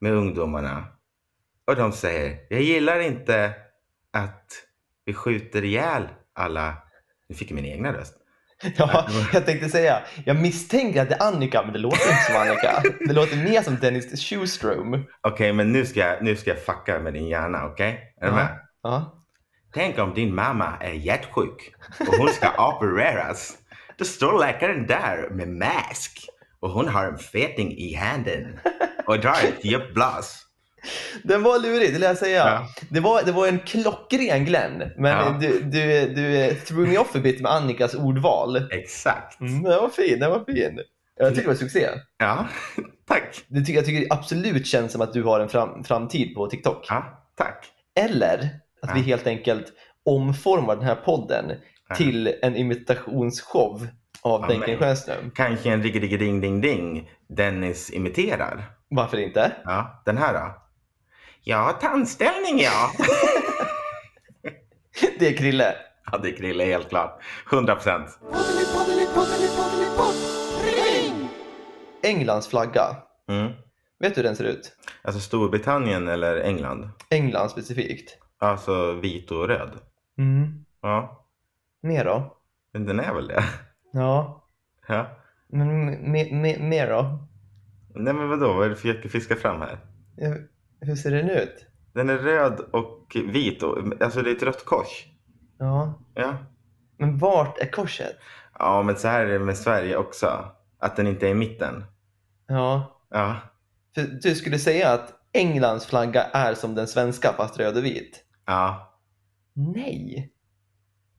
Speaker 1: med ungdomarna och de säger, jag gillar inte att vi skjuter ihjäl alla, nu fick jag min egna röst.
Speaker 2: Ja, jag tänkte säga, jag misstänker att det är Annika, men det låter inte som Annika. Det låter mer som Dennis Shoestrom.
Speaker 1: Okej, men nu ska, jag, nu ska jag fucka med din hjärna, okej? Är du
Speaker 2: Ja.
Speaker 1: med?
Speaker 2: Ja.
Speaker 1: Tänk om din mamma är hjärtsjuk och hon ska opereras. Då står läkaren där med mask och hon har en feting i handen och drar ett djupblås.
Speaker 2: Den var lurig, det lär jag säga.
Speaker 1: Ja.
Speaker 2: Det, var, det var en klockren Glenn, men
Speaker 1: Ja.
Speaker 2: du, du, du threw me off a bit med Annikas ordval.
Speaker 1: Exakt.
Speaker 2: Mm, den var fin, den var fin. Jag tycker det var succé.
Speaker 1: Ja, tack.
Speaker 2: Det tycker, jag tycker det absolut känns som att du har en fram, framtid på TikTok.
Speaker 1: Ja, tack.
Speaker 2: Eller att vi helt enkelt omformar den här podden
Speaker 1: Ja.
Speaker 2: till en imitationsshow av
Speaker 1: Ja,
Speaker 2: Benken
Speaker 1: men-
Speaker 2: Stjernström.
Speaker 1: Kanske en riggedigeding-ding-ding Dennis imiterar.
Speaker 2: Varför inte?
Speaker 1: Ja, den här då? Ja, tandställning ja.
Speaker 2: Det är Krille.
Speaker 1: Ja, det är Krille helt klart. 100 procent.
Speaker 2: Englands flagga.
Speaker 1: Mm.
Speaker 2: Vet du hur den ser ut?
Speaker 1: Alltså Storbritannien eller England?
Speaker 2: England specifikt.
Speaker 1: Alltså vit och röd. Mm. Ja,
Speaker 2: Mer då?
Speaker 1: men den är väl det.
Speaker 2: Ja.
Speaker 1: Ja.
Speaker 2: Men me- me- mer då?
Speaker 1: Nej men vadå, vad är det för jag fiska fram här?
Speaker 2: Eh, Hur ser den ut?
Speaker 1: Den är röd och vit, och, alltså det är ett rött kors.
Speaker 2: Ja.
Speaker 1: Ja.
Speaker 2: Men vart är korset?
Speaker 1: ja, men så här är det med Sverige också. Att den inte är i mitten.
Speaker 2: Ja.
Speaker 1: Ja,
Speaker 2: För du skulle säga att Englands flagga är som den svenska fast röd och vit?
Speaker 1: ja.
Speaker 2: Nej.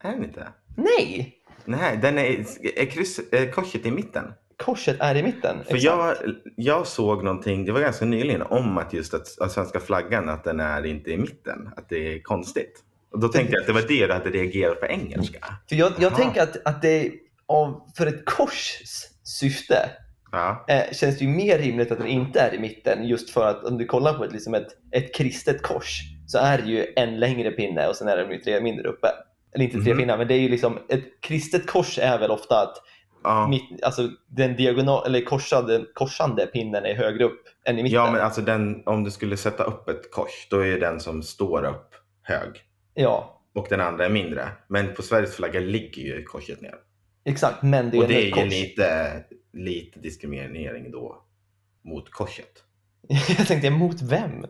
Speaker 1: är den inte?
Speaker 2: Nej!
Speaker 1: Nej, den är, är, kryss, är korset i mitten?
Speaker 2: Korset är i mitten.
Speaker 1: För jag, jag såg någonting, det var ganska nyligen, om att just att, att svenska flaggan, att den är inte i mitten. Att det är konstigt. Och då tänkte jag att det var det du hade reagerat på engelska.
Speaker 2: För jag, jag
Speaker 1: Aha.
Speaker 2: tänker att, att det är av, för ett kors syfte
Speaker 1: Ja,
Speaker 2: eh, känns det ju mer rimligt att den inte är i mitten just för att om du kollar på ett, liksom ett, ett kristet kors så är det ju en längre pinne och sen är det ju tre mindre uppe. Eller inte tre
Speaker 1: Mhm.
Speaker 2: pinnar, men det är ju liksom ett kristet kors är väl ofta att
Speaker 1: ja.
Speaker 2: mitt, alltså den diagonal, eller korsade, korsande pinnen är högre upp än i mitten.
Speaker 1: ja men alltså den, om du skulle sätta upp ett kors, då är ju den som står upp hög.
Speaker 2: Ja,
Speaker 1: och den andra är mindre. Men på Sveriges flagga ligger ju korset ner.
Speaker 2: exakt, men det är,
Speaker 1: och det
Speaker 2: ändå
Speaker 1: är ju
Speaker 2: ett kors.
Speaker 1: lite, lite diskriminering då mot korset.
Speaker 2: jag tänkte mot vem?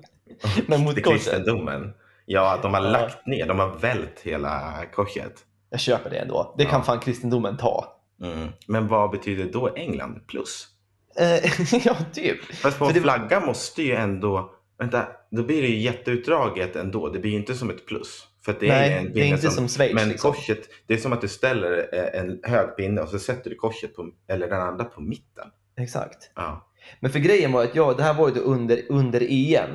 Speaker 2: Men mot
Speaker 1: det
Speaker 2: korset.
Speaker 1: kristendomen. Ja, att de har
Speaker 2: Ja.
Speaker 1: lagt ner, de har vält hela korset.
Speaker 2: Jag köper det ändå. Det kan
Speaker 1: Ja.
Speaker 2: fan kristendomen ta.
Speaker 1: Mm. Men vad betyder då England plus?
Speaker 2: Eh, ja, typ.
Speaker 1: Fast på
Speaker 2: För
Speaker 1: en
Speaker 2: det-
Speaker 1: flagga måste ju ändå, vänta, då blir det ju jätteutdraget ändå. Det blir ju inte som ett plus. För att det
Speaker 2: Nej,
Speaker 1: är ju en
Speaker 2: det är
Speaker 1: pinne
Speaker 2: inte som Schweiz,
Speaker 1: Men
Speaker 2: liksom.
Speaker 1: korset, det är som att du ställer eh, en hög pinne och så sätter du korset på, eller den andra på mitten.
Speaker 2: Exakt.
Speaker 1: Ja.
Speaker 2: Men för grejen var att jag, det här var ju då under, under EM.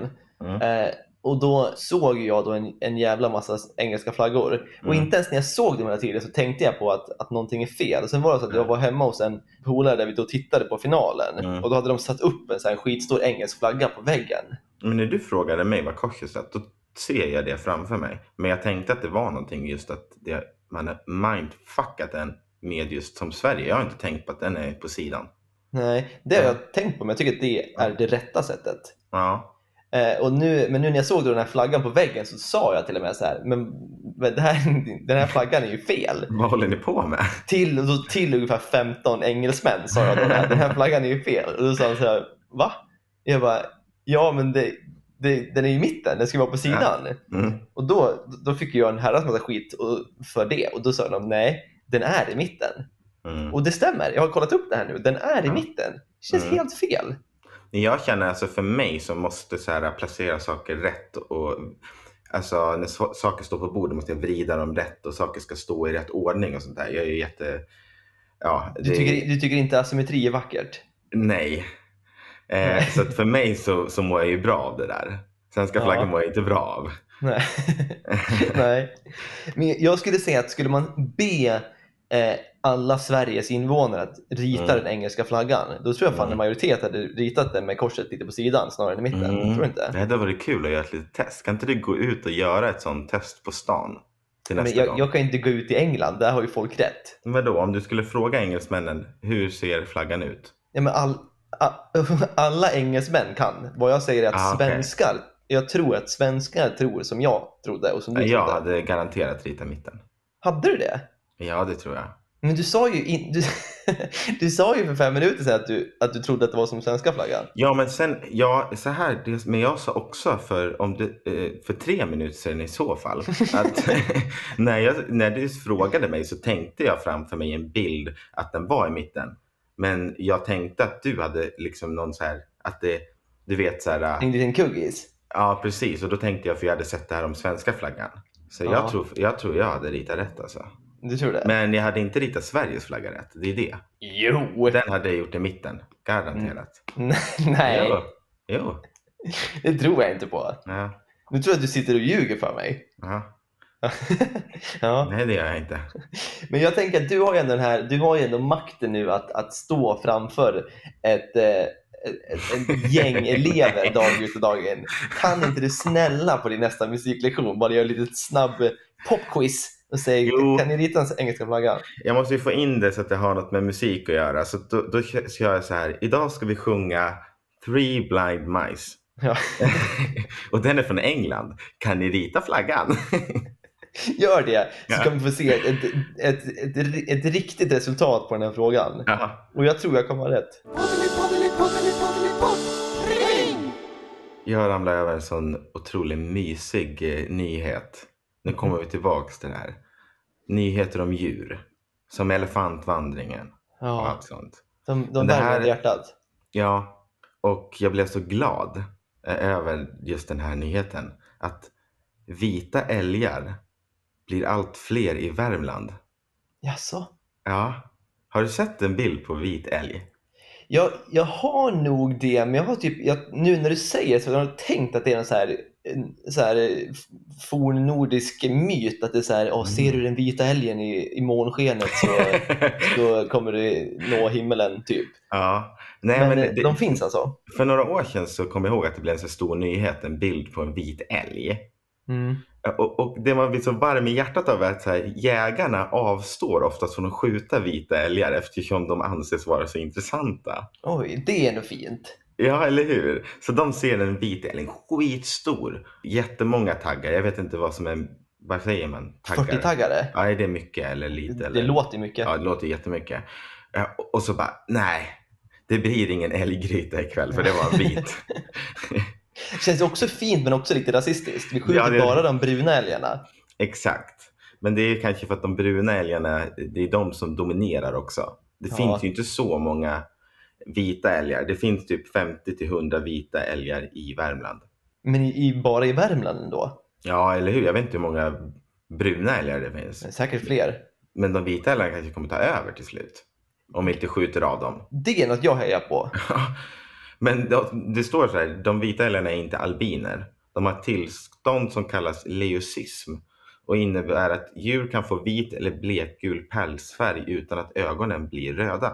Speaker 1: Mm.
Speaker 2: Eh, och då såg ju jag då en, en jävla massa engelska flaggor. Och
Speaker 1: Mm.
Speaker 2: inte ens när jag såg dem hela tiden så tänkte jag på att, att någonting är fel. Och sen var det så att jag var hemma hos en polare där vi då tittade på finalen.
Speaker 1: Mm.
Speaker 2: Och då hade de satt upp en sån här skitstor engelsk flagga på väggen.
Speaker 1: Men när du frågade mig vad korset satt, då ser jag det framför mig. Men jag tänkte att det var någonting just att det, man har mindfuckat den med just som Sverige. Jag har inte tänkt på att den är på sidan.
Speaker 2: Nej, det har
Speaker 1: Mm.
Speaker 2: jag tänkt på men jag tycker att det är det rätta sättet.
Speaker 1: Ja,
Speaker 2: Eh, och nu, men nu när jag såg då den här flaggan på väggen så sa jag till och med så här, men, men det här, den här flaggan är ju fel.
Speaker 1: vad håller ni på med?
Speaker 2: Till, och då till ungefär 15 engelsmän sa jag då, den här flaggan är ju fel. Och då sa han så här, va? Jag bara, ja men det, det, den är ju i mitten, den ska vara på sidan.
Speaker 1: Mm.
Speaker 2: Och då, då fick jag en herrans massa skit och- för det och då sa de, nej, den är i mitten.
Speaker 1: Mm.
Speaker 2: Och det stämmer, jag har kollat upp det här nu, den är i
Speaker 1: Ja.
Speaker 2: mitten. Det känns
Speaker 1: Mm.
Speaker 2: helt fel.
Speaker 1: Jag känner alltså för mig så måste så här placera saker rätt och alltså när so- saker står på bordet måste jag vrida dem rätt och saker ska stå i rätt ordning och sånt där. Jag är ju jätte... Ja,
Speaker 2: Du
Speaker 1: det-
Speaker 2: tycker, du tycker inte asymmetri är vackert?
Speaker 1: Nej. Eh, så att för mig så, så mår jag ju bra av det där. Svenska
Speaker 2: Ja.
Speaker 1: flaggan mår jag inte bra av.
Speaker 2: Nej. Nej. Men jag skulle säga att skulle man be eh, alla Sveriges invånare att rita
Speaker 1: Mm.
Speaker 2: den engelska flaggan, då tror jag fan
Speaker 1: Mm.
Speaker 2: en majoritet hade ritat den med korset lite på sidan snarare än i mitten. Tror du
Speaker 1: Det
Speaker 2: inte?
Speaker 1: hade varit kul att göra ett litet test. Kan inte du gå ut och göra ett sånt test på stan? till
Speaker 2: Men
Speaker 1: nästa
Speaker 2: jag,
Speaker 1: gång.
Speaker 2: jag kan inte gå ut i England, där har ju folk rätt.
Speaker 1: Vadå, om du skulle fråga engelsmännen, hur ser flaggan ut?
Speaker 2: Ja, men all, a- alla engelsmän kan. Vad jag säger är att
Speaker 1: Ah, okej.
Speaker 2: svenskar, jag tror att svenskar tror som jag trodde och som du
Speaker 1: Jag
Speaker 2: trodde.
Speaker 1: hade garanterat ritat mitten.
Speaker 2: Hade du det?
Speaker 1: Ja, det tror jag.
Speaker 2: Men du sa ju, in, du, du sa ju för fem minuter sedan att du, att du trodde att det var som svenska flaggan.
Speaker 1: Ja, men sen, ja, så här, det, men jag sa också för, om det, eh, för tre minuter sedan i så fall, att när, jag, när du frågade mig så tänkte jag framför mig en bild att den var i mitten. Men jag tänkte att du hade liksom någon så här, att det, du vet så här.
Speaker 2: En liten kuggis.
Speaker 1: Ja, precis. Och då tänkte jag, för jag hade sett det här om svenska flaggan. Så
Speaker 2: Ja.
Speaker 1: jag, tror, jag tror jag hade ritat rätt alltså.
Speaker 2: Du tror det?
Speaker 1: Men jag hade inte ritat Sveriges flagga rätt, det är det.
Speaker 2: Jo! Mm.
Speaker 1: Den hade jag gjort i mitten, garanterat.
Speaker 2: Nej,
Speaker 1: Jo. jo.
Speaker 2: det tror jag inte på.
Speaker 1: Ja.
Speaker 2: Nu tror jag att du sitter och ljuger för mig.
Speaker 1: Ja.
Speaker 2: Ja.
Speaker 1: Nej, det gör jag inte.
Speaker 2: Men jag tänker att du har ju ändå, den här, du har ju ändå makten nu att, att stå framför ett, eh, ett, ett, ett gäng elever dag ut och dag in. Kan inte du snälla på din nästa musiklektion bara göra ett litet snabb eh, popquiz och säga kan ni rita den engelska flaggan?
Speaker 1: Jag måste ju få in det så att det har något med musik att göra. Så då, då kör jag så här. Idag ska vi sjunga Three Blind Mice.
Speaker 2: Ja.
Speaker 1: Och den är från England. Kan ni rita flaggan?
Speaker 2: Gör det så
Speaker 1: Ja.
Speaker 2: kan vi få se ett, ett, ett, ett, ett riktigt resultat på den här frågan. Och jag tror jag kommer ha rätt.
Speaker 1: Jag ramlade över en sån otroligt mysig eh, nyhet. Nu kommer vi tillbaks till det här. Nyheter om djur. Som elefantvandringen. Och
Speaker 2: Ja,
Speaker 1: allt sånt.
Speaker 2: de de
Speaker 1: Men det här-
Speaker 2: värmer hjärtat.
Speaker 1: Ja, och jag blev så glad eh, över just den här nyheten. Att vita älgar blir allt fler i Värmland.
Speaker 2: Jaså?
Speaker 1: Ja. Har du sett en bild på vit älg?
Speaker 2: Jag, jag har nog det, men jag har typ, jag, nu när du säger det så har jag tänkt att det är en så här, en, så här eh, fornnordisk myt. Att det är så här, "Åh, ser
Speaker 1: Mm.
Speaker 2: du den vita älgen i, i månskenet så, så kommer du nå himmelen. typ.
Speaker 1: Ja. Nej,
Speaker 2: men
Speaker 1: men
Speaker 2: eh,
Speaker 1: det-
Speaker 2: de finns alltså?
Speaker 1: För några år sedan så kom jag ihåg att det blev en så stor nyhet, en bild på en vit älg.
Speaker 2: Mm.
Speaker 1: Och, och det man blir så varm i hjärtat av är att så här, jägarna avstår oftast från att skjuta vita älgar eftersom de anses vara så intressanta.
Speaker 2: Oj, det är nog fint.
Speaker 1: Ja, eller hur? Så de ser en vit älg, skitstor, jättemånga taggar. Jag vet inte vad som är, vad säger man?
Speaker 2: 40-taggare?
Speaker 1: Ja, är det mycket eller lite? Eller?
Speaker 2: Det låter mycket.
Speaker 1: Ja, det låter jättemycket. Eh, och- Och så bara, nej, det blir ingen älggryta ikväll för det var en vit.
Speaker 2: Känns också fint men också lite rasistiskt. Vi skjuter
Speaker 1: Ja, det-
Speaker 2: bara de bruna älgarna.
Speaker 1: Exakt. Men det är kanske för att de bruna älgarna, det är de som dominerar också. Det
Speaker 2: Ja.
Speaker 1: finns ju inte så många vita älgar. Det finns typ 50 till 100 vita älgar i Värmland.
Speaker 2: Men i, i, bara i Värmland ändå.
Speaker 1: Ja, eller hur? Jag vet inte hur många bruna älgar det finns.
Speaker 2: Säkert fler.
Speaker 1: Men de vita älgarna kanske kommer ta över till slut. Om vi inte skjuter av dem.
Speaker 2: Det är något jag hejar på.
Speaker 1: Men det- det står så här, de vita älgarna är inte albiner. De har ett tillstånd som kallas leucism och innebär att djur kan få vit eller blekgul pälsfärg utan att ögonen blir röda.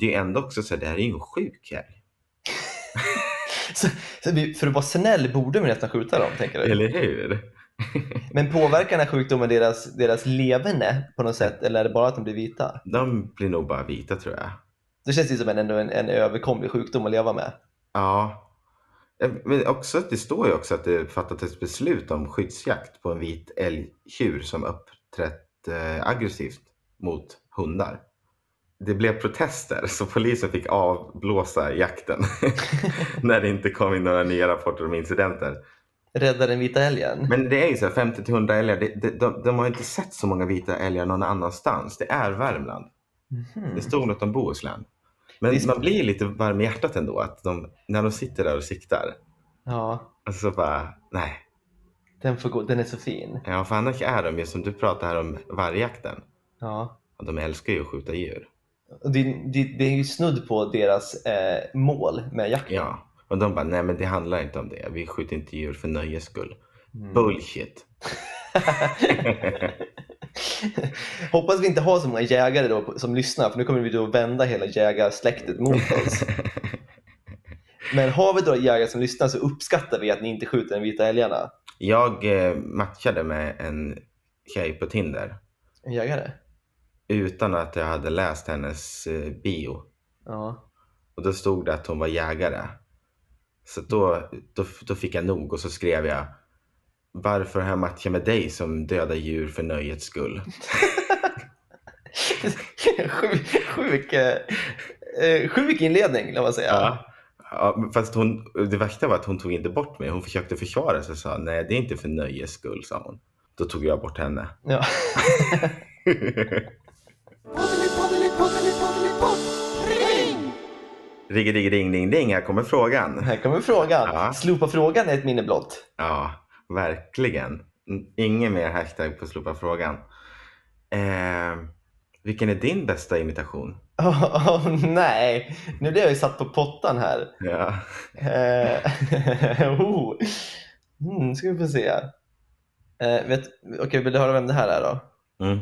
Speaker 1: Det är ändå också så här, det här är ju en sjuk älg.
Speaker 2: Så, så vi, för att vara snäll borde vi nästan skjuta dem, tänker du?
Speaker 1: Eller hur?
Speaker 2: Men påverkar den här sjukdomen deras, deras leverne på något sätt, eller är det bara att de blir vita?
Speaker 1: De blir nog bara vita tror jag.
Speaker 2: Det känns ju som en, ändå en, en överkomlig sjukdom att leva med.
Speaker 1: Ja. Eh, Men också att det står ju också att det fattat ett beslut om skyddsjakt på en vit älgtjur som uppträtt eh, aggressivt mot hundar. Det blev protester så polisen fick avblåsa jakten när det inte kom in några nya rapporter om incidenter.
Speaker 2: Rädda den vita älgen.
Speaker 1: Men det är ju så här 50-100 älgar, det, det, de, de har inte sett så många vita älgar någon annanstans. Det är Värmland.
Speaker 2: Mhm.
Speaker 1: Det stod något om Bohuslän. Men man blir lite varm i hjärtat ändå att de, när de sitter där och siktar.
Speaker 2: Ja,
Speaker 1: Och Alltså så bara, nej.
Speaker 2: den, får gå, den är så fin.
Speaker 1: Ja, för annars är de ju som du pratar här om vargjakten.
Speaker 2: Ja.
Speaker 1: Och de älskar ju att skjuta djur.
Speaker 2: Och det, det, det är ju snudd på deras eh, mål med jakten.
Speaker 1: Ja. Och de bara, nej men det handlar inte om det. Vi skjuter inte djur för nöjes skull.
Speaker 2: Mm.
Speaker 1: Bullshit.
Speaker 2: Hoppas vi inte har så många jägare då på- som lyssnar, för nu kommer vi då vända hela jägarsläktet mot oss. Men har vi då jägare som lyssnar så uppskattar vi att ni inte skjuter den vita älgarna.
Speaker 1: Jag eh, matchade med en tjej på Tinder.
Speaker 2: En jägare?
Speaker 1: Utan att jag hade läst hennes eh, bio.
Speaker 2: Ja.
Speaker 1: Och då stod det att hon var jägare. Så då, då, då fick jag nog och så skrev jag Varför har jag matchat med dig som dödar djur för nöjets skull?
Speaker 2: Sjuk, sjuk, eh, sjuk inledning, låt man säga.
Speaker 1: Ja. Ja, men fast hon, det värsta var att hon tog inte bort mig. Hon försökte försvara sig och sa nej, det är inte för nöjes skull, sa hon. Då tog jag bort henne.
Speaker 2: Ja.
Speaker 1: Ring, ring, ring, ring, ring. Här kommer frågan.
Speaker 2: Här kommer frågan. Slopa frågan är ett minne blott.
Speaker 1: Ja, verkligen. N- Ingen mer hashtag på slopa frågan. Eh, vilken är din bästa imitation?
Speaker 2: Åh åh, nej, nu blev jag ju satt på pottan här.
Speaker 1: Ja.
Speaker 2: Eh, oh. mm, ska vi få se. Eh, vet, okej, vill du höra vem det här är då?
Speaker 1: Mm.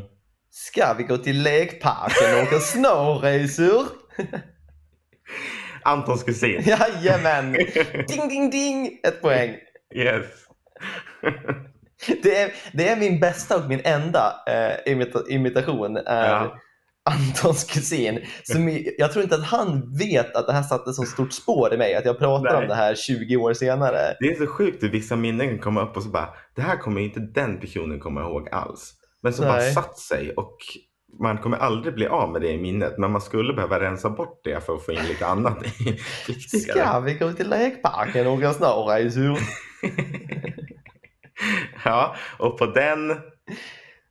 Speaker 2: Ska vi gå till lekparken och åka snowracer?
Speaker 1: Antons kusin.
Speaker 2: Jajamän! Ding, ding, ding! Ett poäng.
Speaker 1: Yes.
Speaker 2: Det är, det är min bästa och min enda eh, imita- imitation. Är Antons kusin. Som, i- jag tror inte att han vet att det här satte så stort spår i mig. Att jag pratar
Speaker 1: Nej.
Speaker 2: om det här 20 år senare.
Speaker 1: Det är så sjukt hur vissa minnen kan komma upp och så bara, det här kommer ju inte den personen komma ihåg alls. Men så bara
Speaker 2: Nej.
Speaker 1: satt sig och man kommer aldrig bli av med det i minnet, men man skulle behöva rensa bort det för att få in lite annat i viktigare.
Speaker 2: Ska vi gå till lekparken och åka snowracer?
Speaker 1: Ja, och på den...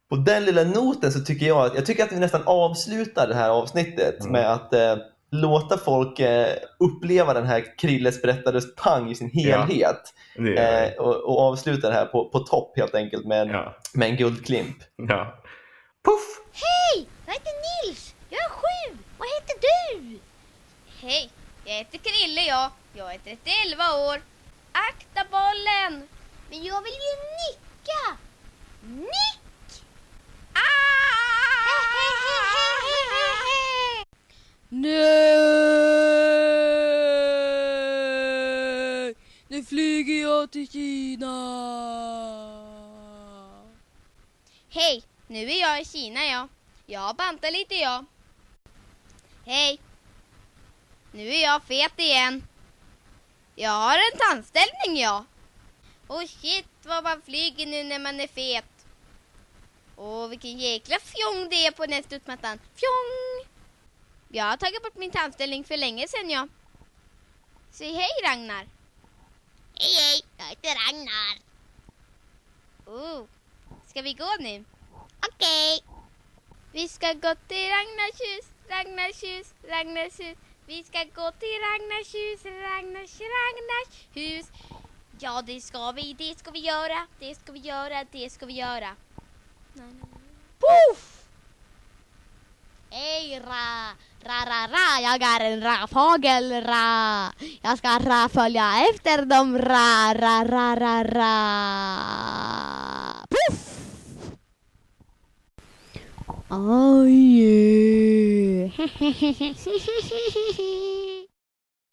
Speaker 2: På den lilla noten så tycker jag att, jag tycker att vi nästan avslutar det här avsnittet med att eh, låta folk eh, uppleva den här Krilles berättades pang i sin helhet.
Speaker 1: det gör vi.
Speaker 2: eh, och, och avsluta det här på, på topp helt enkelt med en, med en guldklimp.
Speaker 1: Ja.
Speaker 6: Hej! Jag heter Nils. Jag är sju. Vad heter du? Hej, jag heter Krille jag. Jag är 31 år. Akta bollen! Men jag vill ju nicka! Nick! Ah!
Speaker 11: Nej! Nu flyger jag till Kina!
Speaker 6: Hej, nu är jag i Kina jag. Jag bantar lite jag. Hej. Nu är jag fet igen. Jag har en tandställning jag. Och shit vad man flyger nu när man är fet. Åh vilken jäkla fjong det är på den här studsmattan. Fjong! Jag har tagit bort min tandställning för länge sedan jag. Säg hej Ragnar. Hej hej, jag heter Ragnar. Oh, Ska vi gå nu? Okej. Vi ska gå till Ragnars hus, Ragnars hus, Ragnars hus. Vi ska gå till Ragnars hus, Ragnars, Ragnars hus. Ja, det ska vi, det ska vi göra, det ska vi göra, det ska vi göra. Poff! Hej Ra, Ra, Ra, Ra, jag är en rafagel Ra. Jag ska ra följa efter dem Ra, Ra, Ra, Ra, Ra. Poff! Oh yeah.